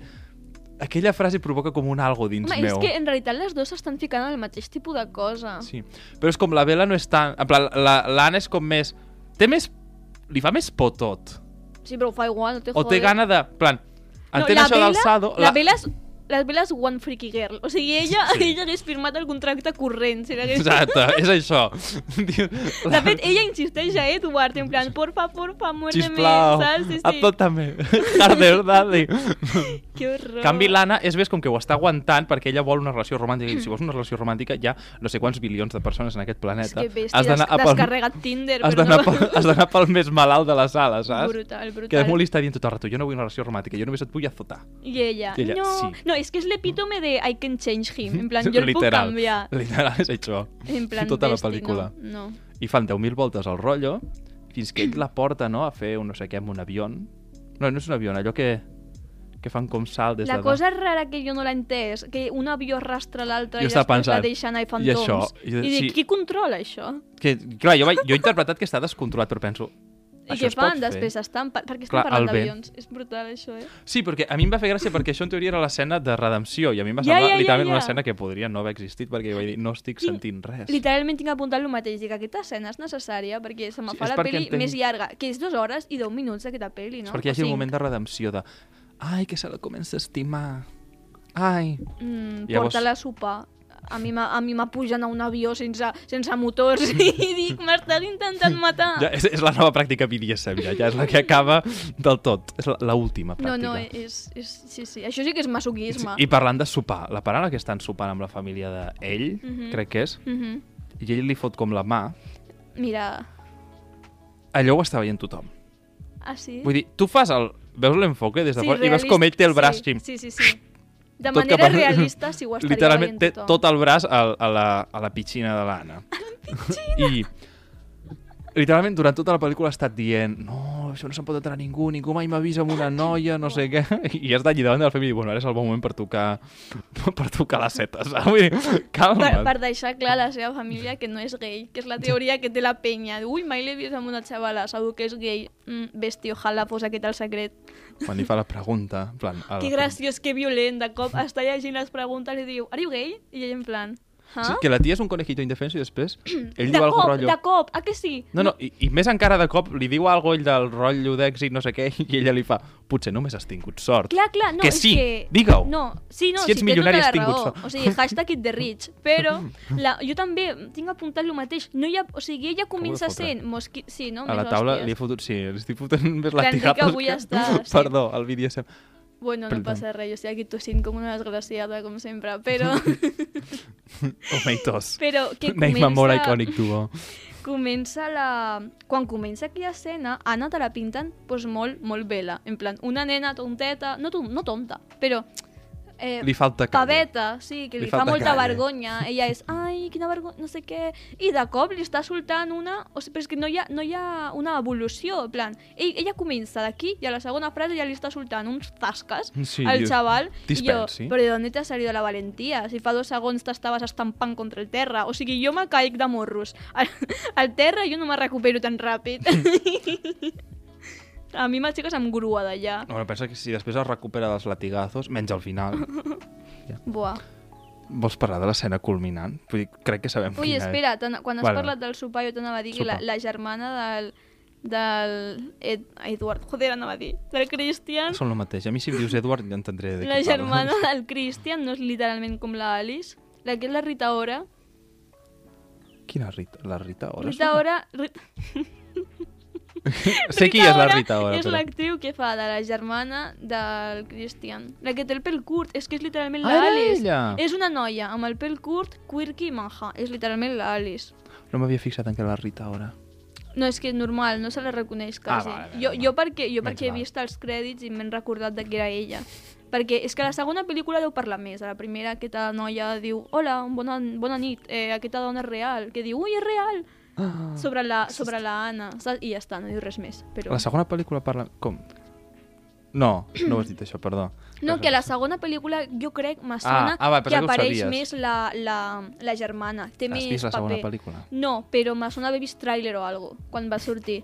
Speaker 3: Aquella frase provoca com un algo dins
Speaker 2: Home,
Speaker 3: meu.
Speaker 2: és que en realitat les dues estan ficant el mateix tipus de cosa.
Speaker 3: Sí, però és com la vela no és tan... En plan, la- l'Anna és com més... Té més... Li fa més por tot.
Speaker 2: Sí, però ho fa igual, no te
Speaker 3: O té
Speaker 2: jode.
Speaker 3: gana de... en plan,
Speaker 2: No,
Speaker 3: entén
Speaker 2: la
Speaker 3: això
Speaker 2: Bella-
Speaker 3: d'alçado...
Speaker 2: La vela és la Bella és one freaky girl. O sigui, ella, sí. ella hagués firmat el contracte corrent. Si l'hagués-
Speaker 3: Exacte, és això. Diu,
Speaker 2: de fet, ella insisteix a Edward, en plan, porfa, porfa, muérdeme,
Speaker 3: sisplau,
Speaker 2: saps? Sí,
Speaker 3: Apple també. Harder, daddy.
Speaker 2: Que horror.
Speaker 3: canvi, l'Anna és més com que ho està aguantant perquè ella vol una relació romàntica i si vols una relació romàntica hi ha no sé quants bilions de persones en aquest
Speaker 2: És
Speaker 3: planeta.
Speaker 2: que bèstia,
Speaker 3: Has d'anar
Speaker 2: des,
Speaker 3: a pel,
Speaker 2: descarregat Tinder,
Speaker 3: has
Speaker 2: però
Speaker 3: d'anar
Speaker 2: no...
Speaker 3: pel, has d'anar pel més malalt de la sala, saps?
Speaker 2: Brutal, brutal.
Speaker 3: Que molt li està dient tot el rato, jo no vull una relació romàntica, jo només et vull azotar.
Speaker 2: I ella,
Speaker 3: I ella,
Speaker 2: no,
Speaker 3: sí.
Speaker 2: no, és que és l'epítome de I can change him, en plan, jo el puc
Speaker 3: Literal,
Speaker 2: canviar.
Speaker 3: Literal, és això.
Speaker 2: En plan,
Speaker 3: Tota la
Speaker 2: bèstia,
Speaker 3: pel·lícula.
Speaker 2: No, no.
Speaker 3: i fan 10.000 voltes al rotllo fins que ell la porta no, a fer un no sé què amb un avió. No, no és un avió, allò que, que fan com salt des
Speaker 2: La
Speaker 3: de...
Speaker 2: cosa rara que jo no l'he entès, que un avió arrastra l'altre i
Speaker 3: Jo estava
Speaker 2: després
Speaker 3: pensant,
Speaker 2: la deixa anar i fan
Speaker 3: i això,
Speaker 2: tombs.
Speaker 3: i de-
Speaker 2: I dic,
Speaker 3: sí.
Speaker 2: qui controla això?
Speaker 3: Que, clar, jo, vaig, jo he interpretat que està descontrolat, però penso...
Speaker 2: I
Speaker 3: Això
Speaker 2: què
Speaker 3: es pot
Speaker 2: fan?
Speaker 3: fer?
Speaker 2: Després estan... Pa... Perquè estan
Speaker 3: Clar,
Speaker 2: Clar,
Speaker 3: el
Speaker 2: parlant
Speaker 3: vent.
Speaker 2: d'avions. És brutal, això, eh?
Speaker 3: Sí, perquè a mi em va fer gràcia perquè això en teoria era l'escena de redempció i a mi em va
Speaker 2: Ja, ja,
Speaker 3: semblar
Speaker 2: ja,
Speaker 3: literalment
Speaker 2: ja.
Speaker 3: una escena que podria no haver existit perquè jo vaig dir no estic
Speaker 2: Tinc-
Speaker 3: sentint res.
Speaker 2: Literalment tinc apuntat el mateix. Dic, aquesta escena és necessària perquè se me
Speaker 3: Sí,
Speaker 2: fa
Speaker 3: és
Speaker 2: la
Speaker 3: perquè
Speaker 2: pel·li
Speaker 3: entenc-
Speaker 2: més llarga, que és dues hores i deu minuts d'aquesta pel·li, no?
Speaker 3: És
Speaker 2: O
Speaker 3: perquè hi hagi el
Speaker 2: cinc.
Speaker 3: moment de redempció de... Ai, que se la comença a estimar. Ai.
Speaker 2: Mm,
Speaker 3: Llavors-
Speaker 2: Porta-la a sopar. A mi m'ha- a mi m'apugen a un avió sense, sense motors i dic, m'estàs intentant matar.
Speaker 3: Ja, és, és la nova pràctica BDSM, ja, ja és la que acaba del tot. És la- l'última
Speaker 2: no,
Speaker 3: pràctica.
Speaker 2: no, és, és, sí, sí. Això sí que és masoquisme.
Speaker 3: I parlant de sopar, la parada que estan sopant amb la família d'ell,
Speaker 2: Mhm.
Speaker 3: crec que és,
Speaker 2: Mhm.
Speaker 3: i ell li fot com la mà,
Speaker 2: Mira,
Speaker 3: allò ho està veient tothom.
Speaker 2: ah, sí?
Speaker 3: Vull dir, tu fas el... Veus l'enfoque des de fora i veus com ell té el braç
Speaker 2: sí,
Speaker 3: així,
Speaker 2: sí, sí, sí. De
Speaker 3: Tot cap
Speaker 2: manera
Speaker 3: a-
Speaker 2: realista, si ho estaria
Speaker 3: literalment
Speaker 2: veient
Speaker 3: té
Speaker 2: tothom.
Speaker 3: tot el braç a, a, la, a la piscina de l'Anna. I literalment durant tota la pel·lícula ha estat dient no, això no se'n pot entrar ningú, ningú mai m'avisa amb una noia, no sé què, i has d'allí davant de la família i bueno, ara és el bon moment per tocar per tocar les setes, saps? Vull dir,
Speaker 2: per,
Speaker 3: calma't.
Speaker 2: per deixar clar a la seva família que no és gay, que és la teoria que té la penya. Ui, mai l'he vist amb una xavala, segur que és gay. Mm, bèstia, ojalà fos aquest el secret.
Speaker 3: Quan li fa la pregunta, en plan... a la
Speaker 2: Que graciós, que violent, de cop està llegint les preguntes i diu, are you gay? I ell en plan, ah?
Speaker 3: Sí, que la tia és un conejito indefenso i després ell
Speaker 2: de
Speaker 3: diu algo
Speaker 2: cop,
Speaker 3: rotllo...
Speaker 2: de cop, a que sí?
Speaker 3: No, no, i, i més encara de cop li diu algo ell del rotllo d'èxit, no sé què, i ella li fa, potser només has tingut sort.
Speaker 2: Clar, clar, no,
Speaker 3: Que
Speaker 2: és
Speaker 3: sí,
Speaker 2: que...
Speaker 3: digue-ho.
Speaker 2: No, sí, no, si,
Speaker 3: Si ets
Speaker 2: té
Speaker 3: milionari has
Speaker 2: tota la
Speaker 3: tingut
Speaker 2: raó.
Speaker 3: sort.
Speaker 2: O sigui, hashtag it the rich. Però la, jo també tinc apuntat el mateix. No hi ha, o sigui, ella comença
Speaker 3: fotre.
Speaker 2: sent... Mosqui... Sí, no?
Speaker 3: a la
Speaker 2: Més
Speaker 3: taula
Speaker 2: hòsties.
Speaker 3: li he fotut... Sí, li estic fotent més
Speaker 2: L'Enric
Speaker 3: latigades
Speaker 2: avui eh? està, sí.
Speaker 3: Perdó, el BDSM.
Speaker 2: Bueno,
Speaker 3: Perdón.
Speaker 2: no pasa res, yo estoy aquí tosiendo como una desgraciada, com sempre, però,
Speaker 3: Tomatoes.
Speaker 2: però que
Speaker 3: Name a more
Speaker 2: comença-
Speaker 3: iconic duo.
Speaker 2: comença la... Quan comença aquella escena, a Anna te la pinten pues, molt, molt vela. En plan, una nena tonteta, no, ton- no tonta, però... Eh,
Speaker 3: Li falta calle.
Speaker 2: Paveta, sí, que
Speaker 3: Li
Speaker 2: li, fa
Speaker 3: falta
Speaker 2: molta
Speaker 3: calle.
Speaker 2: vergonya. Ella és, ai, quina vergonya, no sé què... I de cop li està soltant una... O sigui, però és que no hi ha, no hi ha una evolució, en plan... Ell, ella comença d'aquí i a la segona frase ja li està soltant uns tasques
Speaker 3: Sí,
Speaker 2: al
Speaker 3: dius,
Speaker 2: xaval.
Speaker 3: "Dispensi".
Speaker 2: I jo, però de on t'ha salido la valentia? Si fa dos segons t'estaves estampant contra el terra. O sigui, jo me caic de morros. Al, al terra jo no me recupero tan ràpid. a mi m'aixeques amb grua d'allà.
Speaker 3: Bueno, pensa que si després es recupera dels latigazos, menys al final.
Speaker 2: Buah.
Speaker 3: Vols parlar de l'escena culminant? Vull dir, crec que sabem
Speaker 2: Ui,
Speaker 3: quina és.
Speaker 2: espera, t'ana- quan has
Speaker 3: Vale.
Speaker 2: parlat del sopar jo t'anava a dir que la,
Speaker 3: Sopar.
Speaker 2: la germana del, del Ed, Edward, joder, anava a dir, del Christian,
Speaker 3: Són el mateix. A mi si em dius Edward ja entendré de
Speaker 2: la
Speaker 3: què
Speaker 2: germana del Christian no és literalment com la Alice, la que és la Rita Ora.
Speaker 3: parles. Quina Rita? La Rita Ora?
Speaker 2: Rita Ora... Ri-
Speaker 3: Sé qui és la Rita Ora,
Speaker 2: És
Speaker 3: però...
Speaker 2: l'actriu que fa de la germana del Christian. La que té el pèl curt, és que és literalment
Speaker 3: Ah, era
Speaker 2: l'Alice.
Speaker 3: ella!
Speaker 2: És una noia amb el pèl curt, quirky i manja. És literalment l'Alice.
Speaker 3: No m'havia fixat en que la Rita Ora.
Speaker 2: No, és que és normal, no se la reconeix quasi.
Speaker 3: Ah, vale, vale,
Speaker 2: jo,
Speaker 3: vale.
Speaker 2: jo perquè, jo
Speaker 3: Menys
Speaker 2: perquè he
Speaker 3: mal.
Speaker 2: vist els crèdits i m'he recordat de que era ella. Perquè és que a la segona pel·lícula deu parlar més. A la primera aquesta noia diu Hola, bona, bona nit, eh, aquesta dona és real. Que diu, ui, és real!
Speaker 3: Ah.
Speaker 2: Sobre la, sobre la Anna, saps? I ja està, no diu res més. Però...
Speaker 3: La segona pel·lícula parla... Com? No, no ho has dit això, perdó.
Speaker 2: No, que a la segona pel·lícula jo crec, me sona,
Speaker 3: ah, va,
Speaker 2: que
Speaker 3: pensava que ho
Speaker 2: apareix
Speaker 3: sabies.
Speaker 2: més la, la, la germana. Té
Speaker 3: Has
Speaker 2: més
Speaker 3: vist la segona
Speaker 2: paper.
Speaker 3: pel·lícula?
Speaker 2: No, però me sona haver vist tràiler o algo quan va sortir.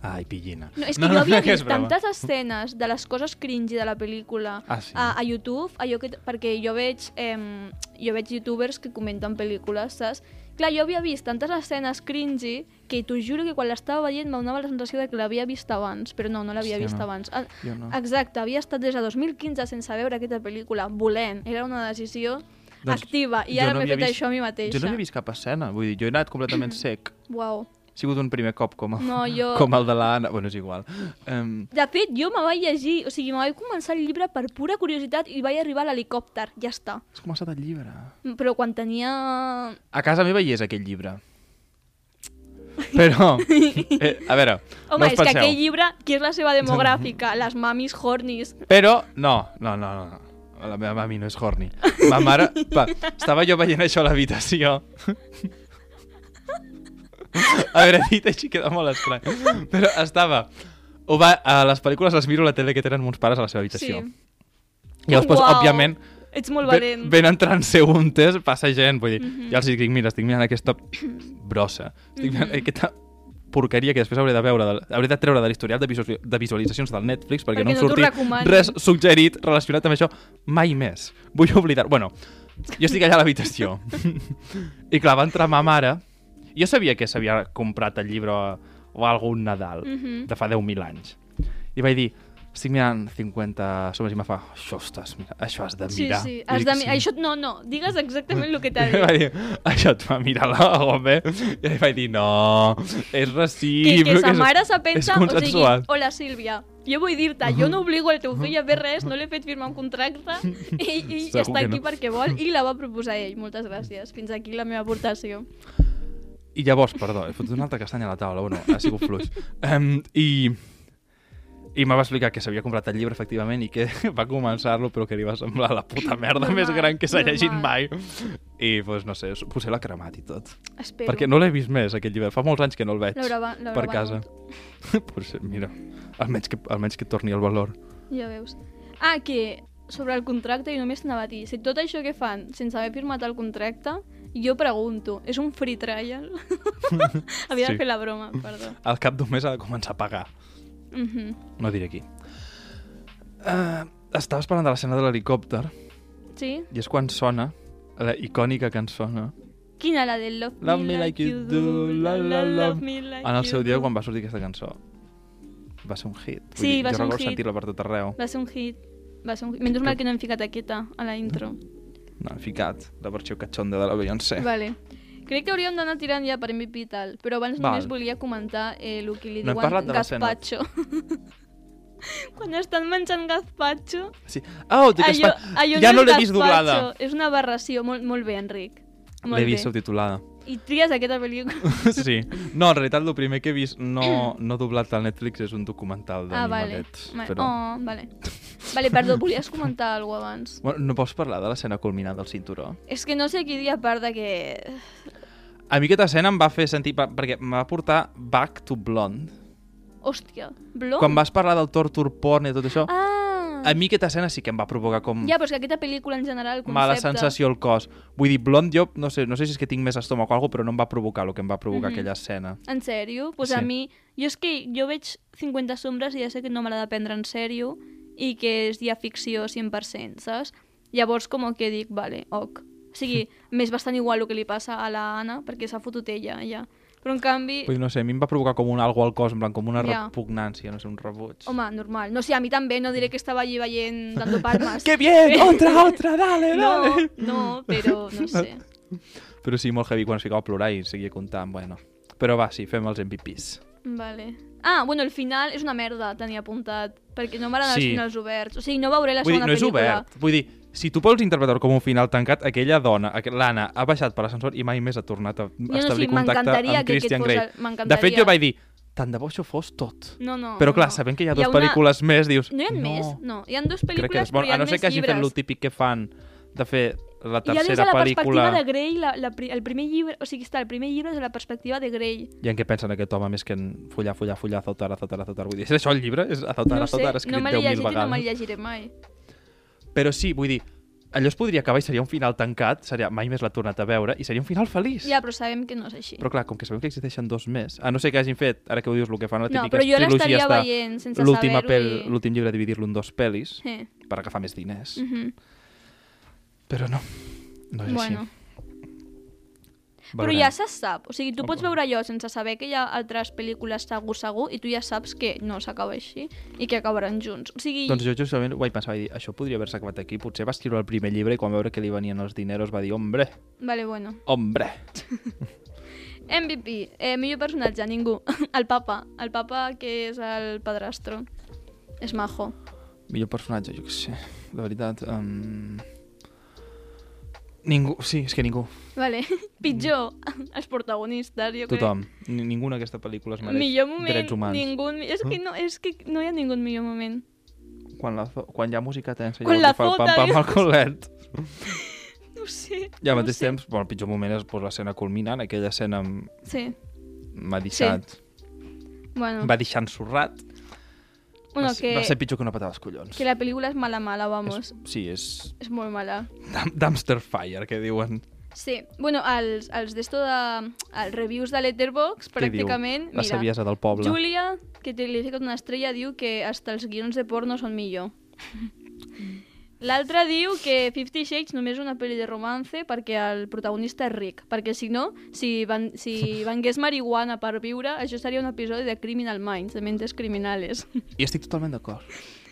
Speaker 3: Ai, pillina.
Speaker 2: No, és que no, jo havia
Speaker 3: que és
Speaker 2: vist
Speaker 3: broma.
Speaker 2: tantes escenes de les coses cringy de la pel·lícula
Speaker 3: Ah, sí?
Speaker 2: a, a YouTube, allò que, perquè jo veig, em, jo veig youtubers que comenten pel·lícules, saps? Clar, jo havia vist tantes escenes cringy que t'ho juro que quan l'estava veient m'ha donava la sensació de que l'havia vist abans, però no, no l'havia
Speaker 3: Hòstia,
Speaker 2: vist
Speaker 3: no.
Speaker 2: abans. Ah,
Speaker 3: Jo no.
Speaker 2: Exacte, havia estat des de 2015 sense veure aquesta pel·lícula, volent. Era una decisió
Speaker 3: Doncs
Speaker 2: activa i
Speaker 3: jo
Speaker 2: ara
Speaker 3: no
Speaker 2: m'he
Speaker 3: havia
Speaker 2: fet
Speaker 3: vist-
Speaker 2: això a mi mateixa.
Speaker 3: Jo no havia vist cap escena, vull dir, jo he anat completament sec.
Speaker 2: Uau.
Speaker 3: Ha sigut un primer cop com el,
Speaker 2: No, jo-
Speaker 3: com el de l'Anna. Bueno, és igual. Um,
Speaker 2: De fet, jo me vaig llegir, o sigui, me vaig començar el llibre per pura curiositat i vaig arribar a l'helicòpter, ja està.
Speaker 3: has començat el llibre.
Speaker 2: Però quan tenia...
Speaker 3: A casa meva hi és aquell llibre. Però, eh, a veure,
Speaker 2: Home,
Speaker 3: no us
Speaker 2: és que
Speaker 3: penseu.
Speaker 2: aquell llibre, qui és la seva demogràfica? Les mamis hornis.
Speaker 3: Però, no, no, no, no. no. La meva mami no és horny. Ma mare... Pa, estava jo veient això a l'habitació. A veure, dit així queda molt estrany. Però estava... Ho va, a les pel·lícules les miro a la tele que tenen meus pares a la seva habitació. I llavors, pues,
Speaker 2: Uau,
Speaker 3: òbviament,
Speaker 2: Ets molt
Speaker 3: ben,
Speaker 2: valent. Mhm.
Speaker 3: ben entrant segundes passa gent. Vull dir, ja els dic, mira, estic mirant aquesta brossa. Estic mirant
Speaker 2: Mhm.
Speaker 3: aquesta porqueria que després hauré de veure, de, hauré de treure de l'historial de, visual, de visualitzacions del Netflix
Speaker 2: Perquè
Speaker 3: perquè, no em
Speaker 2: no t'ho
Speaker 3: surti
Speaker 2: recomanin.
Speaker 3: res suggerit relacionat amb això mai més. Vull oblidar... Bueno, jo estic allà a l'habitació. I clar, va entrar ma mare. Jo sabia que s'havia comprat el llibre o algun Nadal
Speaker 2: Mhm.
Speaker 3: de fa 10.000 anys. I vaig dir, estic mirant 50 somes i me fa, això estàs, mira, això has de
Speaker 2: Sí,
Speaker 3: mirar.
Speaker 2: sí.
Speaker 3: I
Speaker 2: Has
Speaker 3: dic,
Speaker 2: de... mi- Això... No, no, digues exactament el que t'ha
Speaker 3: va
Speaker 2: dit.
Speaker 3: dir, això et va mirar la home. I vaig dir, no, és
Speaker 2: que,
Speaker 3: racisme.
Speaker 2: que sa mare se pensa,
Speaker 3: és
Speaker 2: o sigui,
Speaker 3: consensual.
Speaker 2: hola Sílvia, jo vull dir-te, jo no obligo el teu fill a fer res, no l'he fet firmar un contracte, i, i
Speaker 3: Segur
Speaker 2: està
Speaker 3: que
Speaker 2: aquí
Speaker 3: no.
Speaker 2: perquè vol, i la va proposar ell. Moltes gràcies. Fins aquí la meva aportació.
Speaker 3: I llavors, perdó, he fotut una altra castanya a la taula, bueno, ha sigut fluix. Um, I i me va explicar que s'havia comprat el llibre, efectivament, i que va començar-lo, però que li va semblar la puta merda
Speaker 2: Normal,
Speaker 3: més gran que s'ha
Speaker 2: normal.
Speaker 3: llegit mai. I, doncs, no sé, potser l'ha cremat i tot.
Speaker 2: Espero.
Speaker 3: Perquè no l'he vist més, aquell llibre. Fa molts anys que no el veig
Speaker 2: L'haurà ba- l'haurà
Speaker 3: per casa. pues, mira, almenys que, almenys que torni el valor.
Speaker 2: Ja veus. Ah, que sobre el contracte i només t'anava a dir, si tot això que fan sense haver firmat el contracte, jo pregunto, és un free trial? Havia
Speaker 3: Sí.
Speaker 2: de fer la broma, perdó.
Speaker 3: Al cap d'un mes ha de començar a pagar.
Speaker 2: Mhm.
Speaker 3: No diré qui. Uh, estaves parlant de l'escena de l'helicòpter
Speaker 2: Sí?
Speaker 3: i és quan sona la icònica cançó, no?
Speaker 2: Quina, la del Love,
Speaker 3: Love me like you do, la la la.
Speaker 2: love me like
Speaker 3: En el seu
Speaker 2: you
Speaker 3: dia,
Speaker 2: do.
Speaker 3: quan va sortir aquesta cançó, va ser un hit. Vull
Speaker 2: Sí,
Speaker 3: dir,
Speaker 2: va
Speaker 3: jo
Speaker 2: ser un
Speaker 3: recordo
Speaker 2: hit.
Speaker 3: sentir-la per tot arreu.
Speaker 2: Va ser un hit. Va ser un hit. Menys mal que no hem ficat aquesta a la intro.
Speaker 3: No, he ficat la versió catxonda de la Beyoncé.
Speaker 2: Vale. Crec que hauríem d'anar tirant ja per MVP i tal, però abans
Speaker 3: Val.
Speaker 2: només volia comentar eh, el que li
Speaker 3: No hem
Speaker 2: diuen
Speaker 3: parlat de l'escena.
Speaker 2: gazpacho. Quan estan menjant gazpacho,
Speaker 3: Sí. Oh, de que es
Speaker 2: allò,
Speaker 3: fa-
Speaker 2: allò
Speaker 3: ja no
Speaker 2: és
Speaker 3: l'he vist doblada.
Speaker 2: gazpacho, És una aberració. Molt, molt bé, Enric. Molt
Speaker 3: L'he vist
Speaker 2: bé.
Speaker 3: subtitulada.
Speaker 2: I tries aquesta pel·lícula.
Speaker 3: Sí. No, en realitat el primer que he vist no, no doblat al Netflix és un documental
Speaker 2: ah, vale.
Speaker 3: d'animalets.
Speaker 2: Vale.
Speaker 3: Però...
Speaker 2: Oh, vale. Vale, perdó, volies comentar alguna cosa abans.
Speaker 3: Bueno, no pots parlar de l'escena culminant del cinturó?
Speaker 2: És que no sé qui dir a part de que...
Speaker 3: A mi aquesta escena em va fer sentir... per- Perquè em va portar Back to Blonde.
Speaker 2: Hòstia, Blom?
Speaker 3: Quan vas parlar del torture porn i tot això,
Speaker 2: Ah!
Speaker 3: a mi aquesta escena sí que em va provocar com
Speaker 2: Ja, però és que aquesta pel·lícula en general, el concepte...
Speaker 3: mala sensació al cos. Vull dir, Blonde jo no sé, no sé si és que tinc més estómac o alguna però no em va provocar el que em va provocar
Speaker 2: Mhm.
Speaker 3: aquella escena.
Speaker 2: En sèrio? Pues a
Speaker 3: Sí.
Speaker 2: mi... Jo és que jo veig 50 sombres i ja sé que no m'agrada prendre en sèrio i que és ja ficció 100%, saps? Llavors com que dic, vale, ok. O sigui, m'és bastant igual el que li passa a la Anna perquè s'ha fotut ella, ja. Però en canvi...
Speaker 3: Vull dir, no sé, a mi em va provocar com un algo al cos, en plan, com una
Speaker 2: Ja.
Speaker 3: repugnància, no sé, un rebuig.
Speaker 2: Home, normal. No sé, a mi també, no diré que estava allí veient dando palmas.
Speaker 3: ¡Qué bien! ¡Otra, otra! ¡Dale,
Speaker 2: No,
Speaker 3: dale!
Speaker 2: no, però no sé.
Speaker 3: Però sí, molt heavy quan es ficava a plorar i seguia comptant, bueno. Però va, sí, fem els MVPs.
Speaker 2: Vale. Ah, bueno, el final és una merda, tenia apuntat, perquè no m'agraden
Speaker 3: Sí.
Speaker 2: els finals oberts. O sigui, no veuré la
Speaker 3: Vull dir,
Speaker 2: segona
Speaker 3: no és
Speaker 2: pel·lícula.
Speaker 3: obert. Vull dir, si tu vols interpretar com un final tancat, aquella dona, aqu- l'Anna, ha baixat per l'ascensor i mai més ha tornat a
Speaker 2: no,
Speaker 3: establir
Speaker 2: sí,
Speaker 3: contacte
Speaker 2: m'encantaria que
Speaker 3: amb
Speaker 2: aquest
Speaker 3: Christian
Speaker 2: fos
Speaker 3: Grey.
Speaker 2: el- m'encantaria.
Speaker 3: De fet, jo vaig dir, tant de bo això fos tot.
Speaker 2: No, no.
Speaker 3: Però clar,
Speaker 2: no.
Speaker 3: sabent que hi ha
Speaker 2: Hi
Speaker 3: dues
Speaker 2: ha una-
Speaker 3: pel·lícules més, dius...
Speaker 2: No hi ha no. més? No, hi ha dues
Speaker 3: Crec que
Speaker 2: pel·lícules,
Speaker 3: és bon.
Speaker 2: però hi ha
Speaker 3: A no ser
Speaker 2: més
Speaker 3: que hagi fet
Speaker 2: llibres.
Speaker 3: el típic que fan de fer la
Speaker 2: I ja des de
Speaker 3: tercera
Speaker 2: la
Speaker 3: pel·lícula...
Speaker 2: perspectiva de Grey, la, la, pri- el primer llibre, o sigui, està el primer llibre des de la perspectiva de Grey.
Speaker 3: I en què pensen aquest home més que en follar, follar, follar, azotar, azotar, azotar. Vull dir, és això el llibre? És azotar,
Speaker 2: no ho sé,
Speaker 3: azotar, escrit
Speaker 2: no me l'he
Speaker 3: 10.000
Speaker 2: llegit i no me'l
Speaker 3: vegades.
Speaker 2: llegiré mai.
Speaker 3: Però sí, vull dir, allò es podria acabar i seria un final tancat, seria mai més l'ha tornat a veure i seria un final feliç.
Speaker 2: Ja, però sabem que no és així.
Speaker 3: Però clar, com que sabem que existeixen dos més, a no ser que hagin fet, ara que ho dius, el que fan les
Speaker 2: No,
Speaker 3: típiques
Speaker 2: però jo l'estaria
Speaker 3: trilogies de
Speaker 2: veient sense
Speaker 3: l'última
Speaker 2: saber-ho
Speaker 3: pel,
Speaker 2: i-
Speaker 3: l'últim llibre, dividir-lo en dos pel·lis,
Speaker 2: Eh.
Speaker 3: per agafar més diners.
Speaker 2: mhm.
Speaker 3: Però no, no és
Speaker 2: Bueno.
Speaker 3: així.
Speaker 2: Però
Speaker 3: Veurem.
Speaker 2: ja se sap. O sigui, tu
Speaker 3: Oh,
Speaker 2: pots
Speaker 3: bueno.
Speaker 2: veure allò sense saber que hi ha altres pel·lícules segur, segur, i tu ja saps que no s'acaba així i que acabaran junts. O sigui,
Speaker 3: Doncs jo justament ho vaig pensar, vaig dir, això podria haver-se acabat aquí, potser va escriure el primer llibre i quan va veure que li venien els dineros va dir, hombre,
Speaker 2: vale, bueno.
Speaker 3: hombre.
Speaker 2: MVP, eh, millor personatge, ningú. El papa. El papa que és el padrastro. És majo.
Speaker 3: Millor personatge, jo què sé, la veritat. Um... Ningú, sí, és que ningú,
Speaker 2: Vale. Pitjor, els protagonistes, jo crec.
Speaker 3: tothom. Ni ningú en aquesta pel·lícula es mereix
Speaker 2: Millor moment,
Speaker 3: drets humans.
Speaker 2: ningú... És que, no, és que no hi ha ningú millor moment.
Speaker 3: Quan, la, zo- quan hi ha música tensa,
Speaker 2: Quan
Speaker 3: llavors
Speaker 2: la
Speaker 3: li fa el
Speaker 2: fota,
Speaker 3: pam-pam
Speaker 2: dius.
Speaker 3: al culet.
Speaker 2: No ho sé.
Speaker 3: I al
Speaker 2: no ho
Speaker 3: mateix
Speaker 2: sé.
Speaker 3: temps, bueno, el pitjor moment és pues, l'escena culminant, aquella escena amb-
Speaker 2: Sí.
Speaker 3: m'ha deixat, sí.
Speaker 2: Bueno,
Speaker 3: va deixar ensorrat.
Speaker 2: bueno
Speaker 3: va, ser,
Speaker 2: Ah. que,
Speaker 3: va ser pitjor que una patada als collons.
Speaker 2: que la pel·lícula és mala, mala, vamos.
Speaker 3: és, sí, és
Speaker 2: És molt mala.
Speaker 3: dam- dumpster fire, que diuen.
Speaker 2: Sí, bueno, els, els d'esto de... Els reviews de Letterboxd,
Speaker 3: Què diu?
Speaker 2: pràcticament... mira,
Speaker 3: La saviesa del poble.
Speaker 2: Júlia, que te li ha ficat una estrella, diu que hasta els guions de porno són millor. L'altre diu que Fifty Shades només és una pel·li de romance perquè el protagonista és ric, perquè si no, si, van, si vengués marihuana per viure, això seria un episodi de Criminal Minds, de mentes criminales.
Speaker 3: I estic totalment d'acord.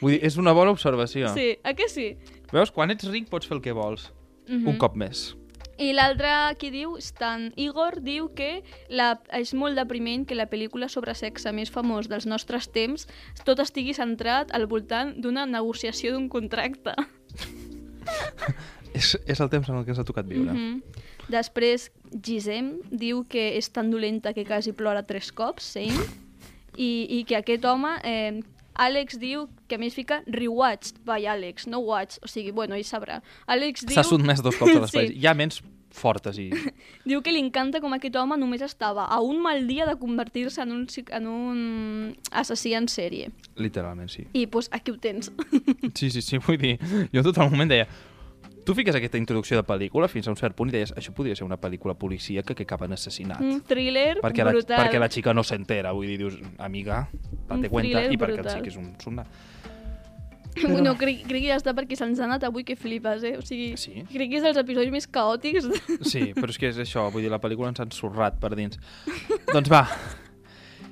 Speaker 3: Vull dir, és una bona observació.
Speaker 2: Sí, a que sí?
Speaker 3: Veus, quan ets ric pots fer el que vols.
Speaker 2: Mhm.
Speaker 3: Un cop més.
Speaker 2: I l'altre que diu, Stan Igor, diu que la, és molt depriment que la pel·lícula sobre sexe més famós dels nostres temps tot estigui centrat al voltant d'una negociació d'un contracte.
Speaker 3: És, és el temps en el que ens ha tocat viure. Mm -hmm.
Speaker 2: Mhm. Després, Gisem diu que és tan dolenta que quasi plora tres cops, same, i, i que aquest home... Eh, Àlex diu que a més fica rewatched by Àlex, no watch, o sigui, bueno, ell sabrà. Àlex diu...
Speaker 3: S'ha sotmès dos cops a l'espai.
Speaker 2: Sí.
Speaker 3: Sí. Hi ha ments fortes i...
Speaker 2: Diu que li encanta com aquest home només estava a un mal dia de convertir-se en un, psic- en un assassí en sèrie.
Speaker 3: Literalment, sí.
Speaker 2: I pues, aquí ho tens.
Speaker 3: Sí, sí, sí, vull dir... Jo tot el moment deia... Tu fiques aquesta introducció de pel·lícula fins a un cert punt i deies això podria ser una pel·lícula policíaca que acaba en assassinat.
Speaker 2: un thriller
Speaker 3: perquè la,
Speaker 2: brutal.
Speaker 3: perquè la xica no s'entera, vull dir, dius, amiga, date
Speaker 2: Un
Speaker 3: cuenta,
Speaker 2: thriller
Speaker 3: i perquè el
Speaker 2: brutal.
Speaker 3: xic és un sonda.
Speaker 2: Bueno, crec, crec que ja està perquè se'ns ha anat avui que flipes, eh? O sigui,
Speaker 3: Sí?
Speaker 2: crec que és dels episodis més caòtics. de-
Speaker 3: Sí, però és que és això, vull dir, la pel·lícula ens ha ensorrat per dins. doncs va,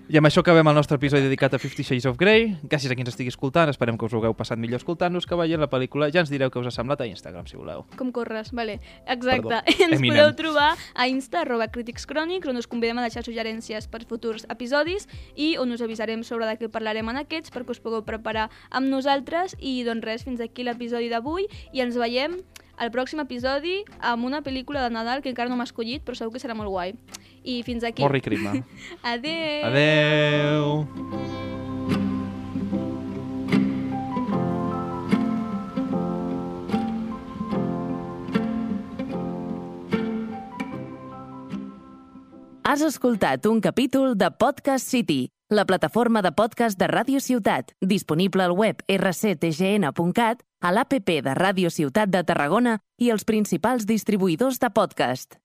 Speaker 3: i amb això acabem el nostre episodi dedicat a Fifty Shades of Grey. Gràcies a qui ens estigui escoltant, esperem que us ho hagueu passat millor escoltant-nos, que veient la pel·lícula ja ens direu què us ha semblat a Instagram, si voleu.
Speaker 2: Com corres, vale. Exacte.
Speaker 3: Perdó.
Speaker 2: Ens
Speaker 3: Eminem.
Speaker 2: podeu trobar a insta, arroba crítics crònics, on us convidem a deixar suggerències per futurs episodis i on us avisarem sobre de què parlarem en aquests perquè us pugueu preparar amb nosaltres i doncs res, fins aquí l'episodi d'avui i ens veiem al pròxim episodi amb una pel·lícula de Nadal que encara no m'ha escollit però segur que serà molt guai. I fins aquí.
Speaker 3: Morri crima.
Speaker 2: Adeu!
Speaker 3: Adeu!
Speaker 1: Has escoltat un capítol de Podcast City, la plataforma de podcast de Ràdio Ciutat, disponible al web rctgn.cat, a l'APP de Ràdio Ciutat de Tarragona i els principals distribuïdors de podcast.